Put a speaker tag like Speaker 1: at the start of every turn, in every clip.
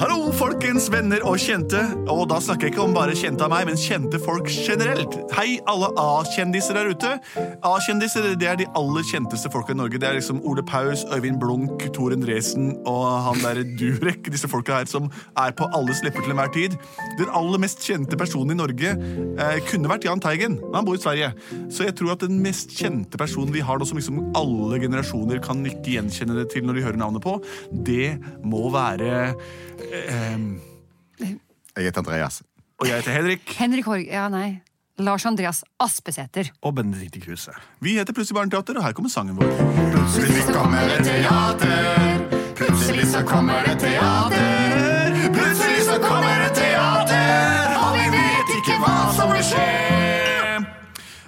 Speaker 1: Hallo, folkens venner og kjente. Og da snakker jeg ikke om bare kjente av meg, men kjente folk generelt. Hei, alle A-kjendiser der ute. A-kjendiser det er de aller kjenteste folka i Norge. Det er liksom Ole Paus, Øyvind Blunk, Tor Endresen og han derre Durek. Disse folka her som er på alles lepper til enhver tid. Den aller mest kjente personen i Norge eh, kunne vært Jahn Teigen, men han bor i Sverige. Så jeg tror at den mest kjente personen vi har nå, som liksom alle generasjoner kan ikke gjenkjenne det til når de hører navnet på, det må være Ehm,
Speaker 2: Jeg heter Andreas.
Speaker 1: og jeg heter Henrik.
Speaker 3: Henrik Horg... Ja, nei. Lars Andreas Aspesæter.
Speaker 4: og Benedicte Kruse.
Speaker 1: Vi heter Plutselig barneteater, og her kommer sangen vår.
Speaker 2: Plutselig så kommer det teater. Plutselig så kommer det teater. Plutselig så kommer det teater, og vi vet ikke hva som vil skje.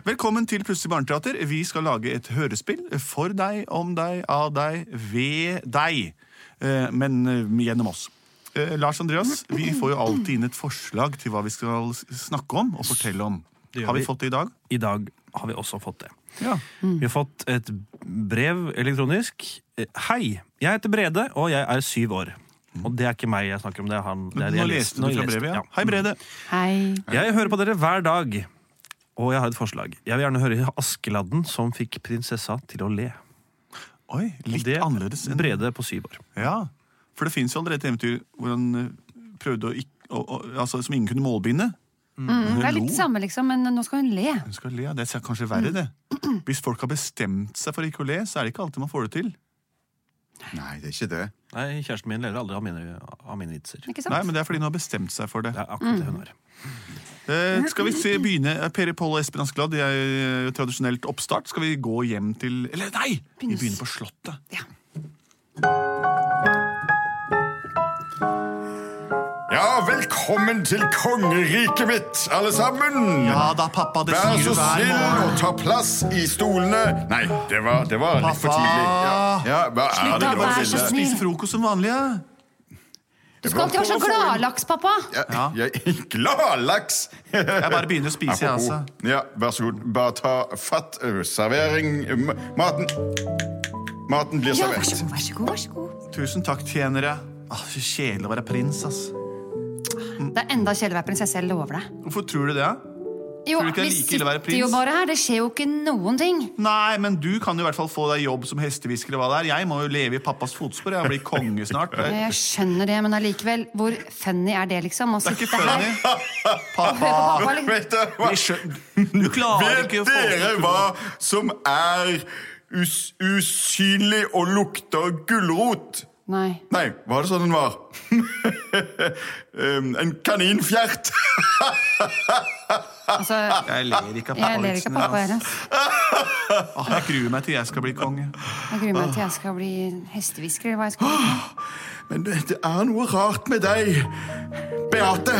Speaker 1: Velkommen til Plutselig barneteater. Vi skal lage et hørespill for deg, om deg, av deg, ved deg. Eh, Men eh, gjennom oss. Eh, Lars Andreas, vi får jo alltid inn et forslag til hva vi skal s- snakke om og fortelle om.
Speaker 4: Det gjør
Speaker 1: Har vi
Speaker 4: vi.
Speaker 1: fått det i dag?
Speaker 4: I dag har vi også fått det.
Speaker 1: Ja.
Speaker 4: Vi har fått et brev elektronisk. Eh, Hei, jeg heter Brede, og jeg er syv år. Og det er ikke meg jeg snakker om. det er han. Det er det
Speaker 1: Nå
Speaker 4: jeg
Speaker 1: leste
Speaker 4: nå
Speaker 1: Mm. du fra
Speaker 4: leste-
Speaker 1: brevet, ja.
Speaker 4: ja.
Speaker 1: Hei, Brede.
Speaker 3: Hei.
Speaker 4: Jeg hører på dere hver dag, og jeg har et forslag. Jeg vil gjerne høre Askeladden som fikk prinsessa til å le.
Speaker 1: Oi,
Speaker 4: Og
Speaker 1: litt
Speaker 4: det er
Speaker 1: annerledes enn
Speaker 4: Brede på syv år.
Speaker 1: Ja, for det fins jo allerede et eventyr hvor han eh, prøvde å ikke å- å- altså, Som ingen kunne målbinde.
Speaker 3: Mm, det er litt Mm.
Speaker 1: Lo.
Speaker 3: det samme, liksom, men nå skal hun le.
Speaker 1: Hun skal le, ja. Det er kanskje verre, det. Hvis folk har bestemt seg for ikke å le, så er det ikke alltid man får det til.
Speaker 2: Nei, det er ikke det.
Speaker 4: Nei, kjæresten min ler aldri av mine, av mine vitser. Det
Speaker 3: Ikke sant?
Speaker 1: Nei, men det er fordi hun har bestemt seg for det.
Speaker 4: er akkurat det hun er.
Speaker 1: Eh, skal vi se, begynne eh, Per Pål og Espen Askeladd, det er eh, tradisjonelt oppstart. Skal vi gå hjem til Eller nei! Vi
Speaker 3: Begynne å
Speaker 1: begynner
Speaker 3: s-
Speaker 1: på Slottet.
Speaker 3: Ja.
Speaker 2: Ja, velkommen til kongeriket mitt, alle sammen.
Speaker 1: Ja da, pappa, det
Speaker 2: Vær
Speaker 1: sier
Speaker 2: så
Speaker 1: du hver
Speaker 2: snill å
Speaker 1: morgen.
Speaker 2: ta plass i stolene. Nei, det var, det var litt for
Speaker 1: Pappa!
Speaker 2: tidlig. Ja, ja, hva
Speaker 3: Slutt
Speaker 2: er
Speaker 3: da,
Speaker 2: det
Speaker 3: vær så
Speaker 2: Mathilde?
Speaker 3: snill.
Speaker 1: Spise frokost som vanlig, ja.
Speaker 3: Du skal alltid være så gladlaks, pappa!
Speaker 2: Ja, jeg, gladlaks!
Speaker 1: Jeg bare begynner å spise, jeg, altså.
Speaker 2: Ja, vær så god. Bare ta fatt. ø, Servering. ø, ma- Maten Maten blir
Speaker 3: Ja, vær
Speaker 2: servert.
Speaker 3: så god, vær så god. vær så god.
Speaker 1: Tusen takk, tjenere. Ah, så Kjedelig å være prins, ass.
Speaker 3: Det er enda kjedeligere å være prinsesse, jeg lover deg.
Speaker 1: Hvorfor tror du det? ja?
Speaker 3: Jo,
Speaker 1: Tror du ikke det er like
Speaker 3: vi
Speaker 1: ille å
Speaker 3: sitter
Speaker 1: være prins?
Speaker 3: jo bare her, det skjer jo ikke noen ting.
Speaker 1: Nei, men du kan jo i hvert fall få deg jobb som hestehvisker. og hva det er. Jeg må jo leve i pappas fotspor. Jeg blir konge snart. Det
Speaker 3: Jeg skjønner det, men allikevel, hvor funny er det, liksom? Å
Speaker 1: er ikke
Speaker 3: sitte her
Speaker 1: funny.
Speaker 3: og høre på pappa, eller?
Speaker 2: Vet dere hva?
Speaker 1: Vi skjøn- Du klarer
Speaker 2: Vet
Speaker 1: ikke å få
Speaker 2: dere hva som er us usynlig og lukter gulrot?
Speaker 3: Nei.
Speaker 2: Nei, var det sånn den var? Um, en kaninfjert.
Speaker 3: Altså,
Speaker 1: Jeg ler ikke av
Speaker 3: jeg ler ikke av pappa, jeg. altså.
Speaker 1: pappavitsene.
Speaker 3: ass.
Speaker 1: ass. Åh, Jeg gruer meg til jeg skal bli konge.
Speaker 3: Jeg gruer meg til jeg skal bli hestehvisker, eller hva jeg skal bli.
Speaker 2: Men det, det er noe rart med deg, Beate.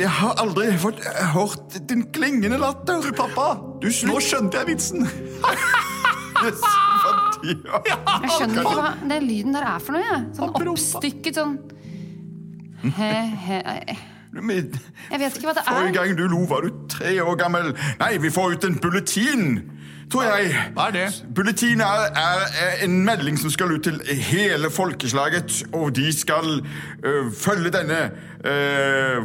Speaker 2: Jeg har aldri fått hørt din klingende latter.
Speaker 1: Du, pappa! Du, nå skjønte jeg vitsen!
Speaker 2: Yes, fordi-
Speaker 3: Jeg skjønner ikke hva den lyden der er for noe. Jeg. Sånn
Speaker 1: Han prompa.
Speaker 3: oppstykket sånn he, he, eh.
Speaker 2: Men-
Speaker 3: Jeg vet ikke hva det
Speaker 2: Forrige
Speaker 3: er.
Speaker 2: gang du lo, var du tre år gammel. Nei, vi får ut en bulletin, tror jeg.
Speaker 1: Hva er det?
Speaker 2: Bulletin er, er, er en melding som skal ut til hele folkeslaget, og de skal øh, følge denne øh,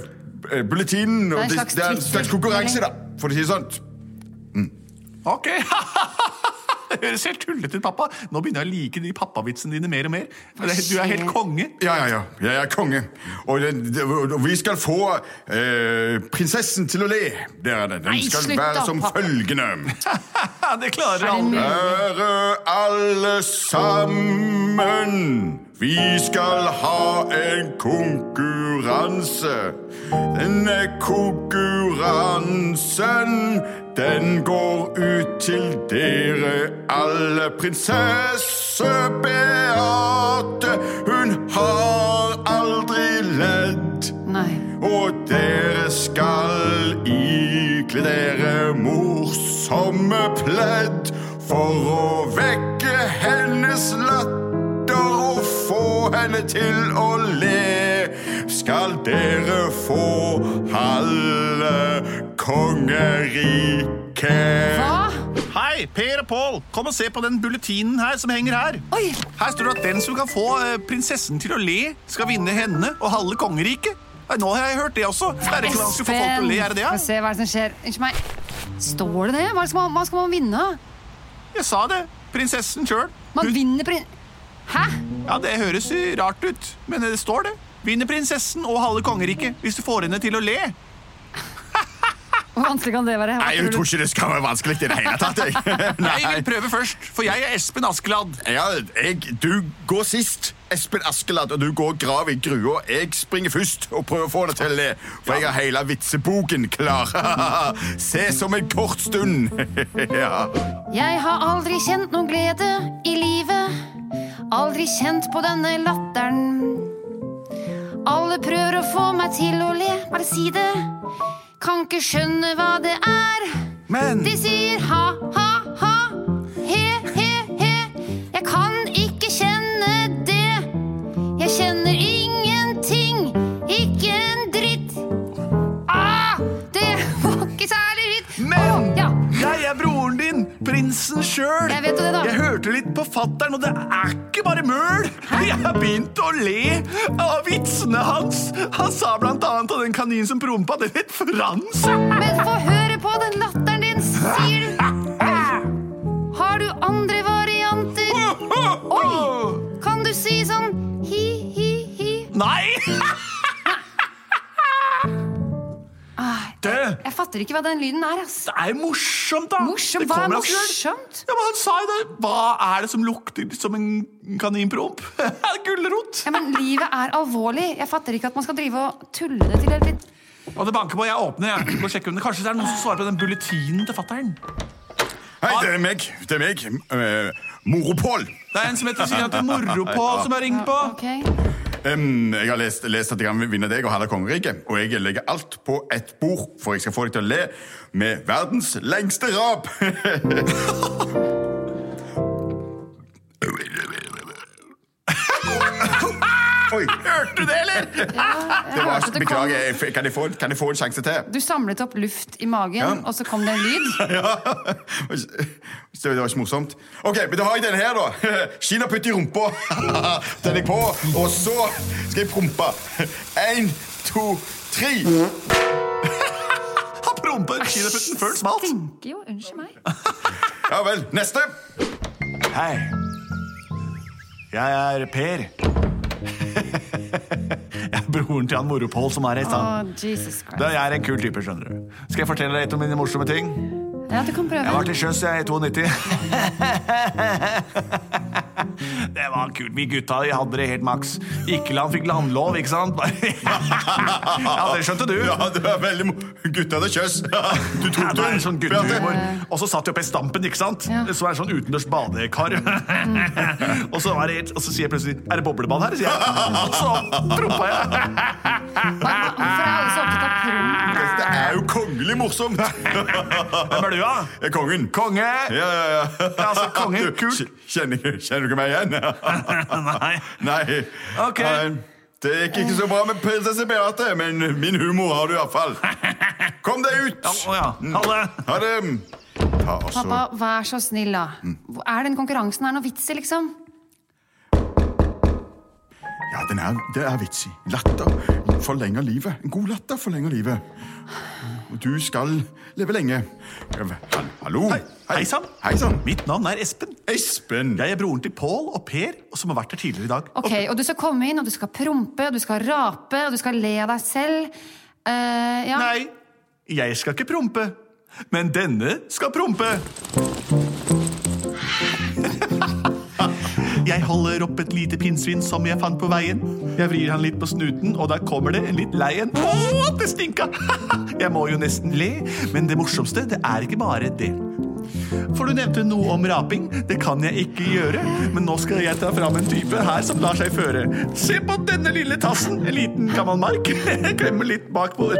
Speaker 2: øh, bulletinen. og
Speaker 3: Det er en
Speaker 2: de-
Speaker 3: slags
Speaker 2: det er en slags konkurranse, da, for å si det sånn.
Speaker 1: Ok! Det høres helt tullete ut, pappa. Nå begynner jeg å like de pappavitsene dine mer og mer. Du er helt konge.
Speaker 2: Ja, ja, ja. Jeg er konge. Og, det, det, og vi skal få øh, prinsessen til å le. Det er det. Den
Speaker 3: Nei,
Speaker 2: skal
Speaker 3: slutt
Speaker 2: være
Speaker 3: da,
Speaker 2: som
Speaker 3: pappa.
Speaker 2: følgende.
Speaker 1: Det klarer
Speaker 3: Er det
Speaker 1: alle.
Speaker 3: mulig?
Speaker 2: Kjære alle sammen, vi skal ha en konkurranse. Denne konkurransen, den går ut til dere alle. Prinsesse Beate, hun samme pledd for å vekke hennes latter og få henne til å le. Skal dere få halve kongeriket?
Speaker 3: Hva?
Speaker 1: Hei, Per og Pål, kom og se på den bulletinen her som henger her.
Speaker 3: Oi!
Speaker 1: Her står det at den som kan få eh, prinsessen til å le, skal vinne henne og halve kongeriket. Nei, Nå har jeg hørt det også. Det er ikke vanskelig å få folk til å le, er det det?
Speaker 3: Få
Speaker 1: ja?
Speaker 3: se hva er det som skjer. Unnskyld meg. Står det det? Hva, er det som, hva skal man vinne?
Speaker 1: Jeg sa det. Prinsessen sjøl.
Speaker 3: Man vinner prin... Hæ?
Speaker 1: Ja, det høres eh, rart ut, men det står det. Vinner prinsessen og halve kongeriket hvis du får henne til å le.
Speaker 3: Hvor vanskelig kan det være? Hva
Speaker 2: Nei,
Speaker 3: tror
Speaker 2: jeg
Speaker 3: du?
Speaker 2: tror ikke det skal være vanskelig i det hele tatt. jeg.
Speaker 1: Jeg vil prøve først, for jeg er Espen Askeladd.
Speaker 2: Ja, jeg, du går sist, Espen Askeladd, og du går grav i grua. Jeg springer først og prøver å få det til, å le, for jeg har hele vitseboken klar. Ses om en kort stund. ja.
Speaker 3: Jeg har aldri kjent noen glede i livet. Aldri kjent på denne latteren. Alle prøver å få meg til å le, bare si det. Kan ikke skjønne hva det er.
Speaker 1: Men
Speaker 3: De sier ha, ha, ha. He, he, he. Jeg kan ikke kjenne det. Jeg kjenner ingenting. Ikke en dritt. Ah, det var ikke særlig dritt.
Speaker 1: Men-
Speaker 3: Å, ja.
Speaker 1: jeg er broren din, prinsen sjøl.
Speaker 3: Jeg vet jo det da.
Speaker 1: Jeg hørte litt på fattern, og det er ikke bare møl. Jeg har begynt å le av vitsene hans. Han sa blant annet av den kaninen som prompa. Den het Frans.
Speaker 3: Men få høre på den latteren din, sier du. Har du andre varianter? Oi! Kan du si sånn hi, hi, hi?
Speaker 1: Nei!
Speaker 3: Ah,
Speaker 1: Det
Speaker 3: Jeg fatter ikke hva den lyden er, ass.
Speaker 1: er morsomt, da.
Speaker 3: Morsom,
Speaker 1: Det
Speaker 3: hva er
Speaker 1: kommer av seg selv.
Speaker 3: morsomt?
Speaker 1: Ja, men han sa jo det. Hva er det som lukter som en kaninpromp? Gulrot.
Speaker 3: Ja, men livet er alvorlig. Jeg fatter ikke at man skal drive og tulle det til hele tiden.
Speaker 1: Og det banker på. Jeg åpner. jeg. Må sjekke om det. Kanskje det er noen som svarer på den bulletinen til fattern.
Speaker 2: Hei, det er meg. Det er meg. Eh, Moropol.
Speaker 1: Det er en som heter sier at det er Moropål som har ringt på.
Speaker 3: Ok.
Speaker 2: Em, jeg har lest, lest at jeg kan vinne deg og halve kongeriket, og jeg legger alt på ett bord, for jeg skal få deg til å le med verdens lengste rap. Oi,
Speaker 1: Hørte du det, eller?
Speaker 2: det var,
Speaker 3: hørte det kom-
Speaker 2: beklager, jeg f- kan jeg, få, kan jeg få en sjanse til?
Speaker 3: Du samlet opp luft i magen, og så kom det en lyd.
Speaker 2: Ja. Det var ikke morsomt. OK, men da har jeg denne her, da. Kinaputt i rumpa. Den er jeg på. Og så skal jeg prompe. Én, to, tre.
Speaker 1: Han prompet kinaputten før den smalt.
Speaker 3: Stinker jo. Unnskyld meg.
Speaker 2: Ja vel. Neste.
Speaker 1: Hei. Jeg er Per. Jeg er broren til han Moropål som er her.
Speaker 3: Å,
Speaker 1: sa han.
Speaker 3: Jesus Christ.
Speaker 1: Da, Jeg er en kul type, skjønner du. Skal jeg fortelle deg et om mine morsomme ting?
Speaker 3: Ja, du kan
Speaker 1: Jeg var
Speaker 3: prøve.
Speaker 1: til sjøs jeg i 92. Det var kult. Vi gutta vi hadde det helt maks. Ikkeland fikk landlov, ikke sant? Bare- Ja, det skjønte du.
Speaker 2: Ja, det var veldig mo... Gutta hadde kjøss. Du tok
Speaker 1: Ja, det er
Speaker 2: den.
Speaker 1: en sånn gutthumor. Og så satt de oppe i stampen, ikke sant?
Speaker 3: Ja.
Speaker 1: Så er det sånn utendørs badekar. og, så er det, helt- og så sier jeg plutselig 'Er det boblebad her?' sier jeg. Og så prompa jeg.
Speaker 3: Hvorfor er alle så opptatt av prom?
Speaker 2: Dette er jo kongelig morsomt.
Speaker 1: Hvem er du, da?
Speaker 2: Det er kongen.
Speaker 1: Konge!
Speaker 2: Ja, ja, ja.
Speaker 1: altså, kongen,
Speaker 2: Du,
Speaker 1: kult.
Speaker 2: kj- Kjenner, kjenner du ikke meg igjen?
Speaker 1: Nei.
Speaker 2: Nei.
Speaker 1: Ok.
Speaker 2: Nei. Det gikk ikke så bra med prinsesse Beate, men min humor har du iallfall. Kom deg ut! Mm.
Speaker 1: Ja, å ja. Ha det.
Speaker 2: Ha det. Ta også.
Speaker 3: Pappa, vær så snill, da.
Speaker 2: Mm.
Speaker 3: Hvor- Er den konkurransen her noe vits i, liksom?
Speaker 2: Ja, den er, det er vitsig. Latter forlenger livet. En god latter forlenger livet. Og du skal leve lenge. Hall- Hallo.
Speaker 1: Hei sann.
Speaker 2: Hei sann.
Speaker 1: Mitt navn er Espen.
Speaker 2: Espen.
Speaker 1: Jeg er broren til Pål og Per, som har vært her tidligere i dag.
Speaker 3: Ok, Og du skal komme inn, og du skal prompe, og du skal rape, og du skal le av deg selv. Eh, ja.
Speaker 1: Nei, jeg skal ikke prompe. Men denne skal prompe. Jeg holder opp et lite pinnsvin som jeg fant på veien. Jeg vrir han litt på snuten, og da kommer det en litt lei en. Å, det stinka! Jeg må jo nesten le, men det morsomste, det er ikke bare det. For du nevnte noe om raping. Det kan jeg ikke gjøre. Men nå skal jeg ta fram en type her som lar seg føre. Se på denne lille tassen. En liten gammel mark. Jeg klemmer litt bakpå.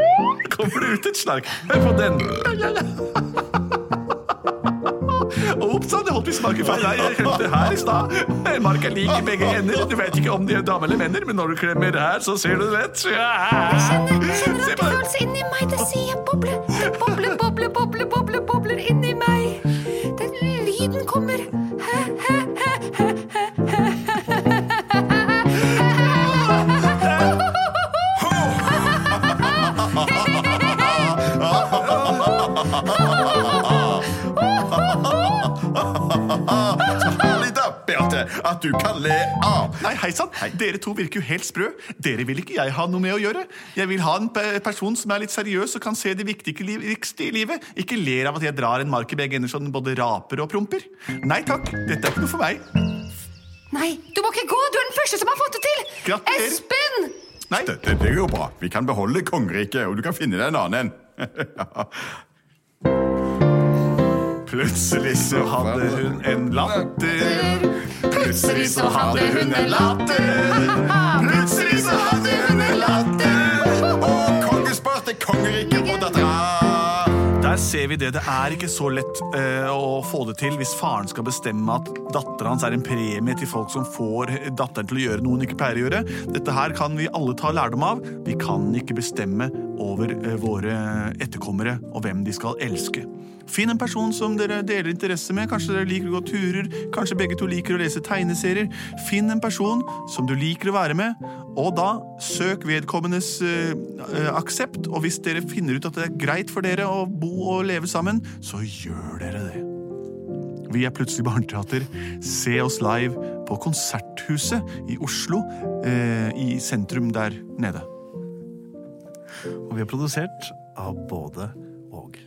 Speaker 1: Kommer det ut et snark. Hør på den. Ops sann, det holdt vi smaken feil. Nei, jeg klemte her i stad. Marka er lik i begge ender, og du vet ikke om de er damer eller menner, men når du klemmer her, så ser du det lett.
Speaker 3: Jeg kjenner, jeg kjenner
Speaker 1: Se
Speaker 3: at
Speaker 1: på den.
Speaker 3: det føles inni meg. Det ser jeg boble. Boble, boble, boble, boble, bobler inni meg. Den lyden kommer.
Speaker 2: Herlig da, Beate, at du kan le av.
Speaker 1: Nei, hei sann. Dere to virker jo helt sprø. Dere vil ikke jeg ha noe med å gjøre. Jeg vil ha en pe- person som er litt seriøs og kan se det viktige liv- viktigste i livet. Ikke ler av at jeg drar en mark i begge ender så den både raper og promper. Nei takk, dette er ikke noe for meg.
Speaker 3: Nei, du må ikke gå! Du er den første som har fått det til!
Speaker 1: Gratulerer.
Speaker 3: Espen!
Speaker 1: Nei.
Speaker 2: Det, det, det går bra. Vi kan beholde kongeriket, og du kan finne deg en annen en. Plutselig så
Speaker 1: Hadde hun en latter?
Speaker 2: Plutselig så hadde hun en latter. Plutselig så hadde hun en latter. Og kongespart er kongeriket og dattera.
Speaker 1: Der ser vi det. Det er ikke så lett eh, å få det til hvis faren skal bestemme at datteren hans er en premie til folk som får datteren til å gjøre noe hun ikke pleier å gjøre. Dette her kan vi alle ta lærdom av. Vi kan ikke bestemme over eh, våre etterkommere og hvem de skal elske. Finn en person som dere deler interesse med. Kanskje dere liker å gå turer. Kanskje begge to liker å lese tegneserier. Finn en person som du liker å være med, og da søk vedkommendes eh, eh, aksept. Og hvis dere finner ut at det er greit for dere å bo og leve sammen, så gjør dere det. Vi er Plutselig barneteater. Se oss live på Konserthuset i Oslo, eh, i sentrum der nede.
Speaker 4: Og vi er produsert av både og.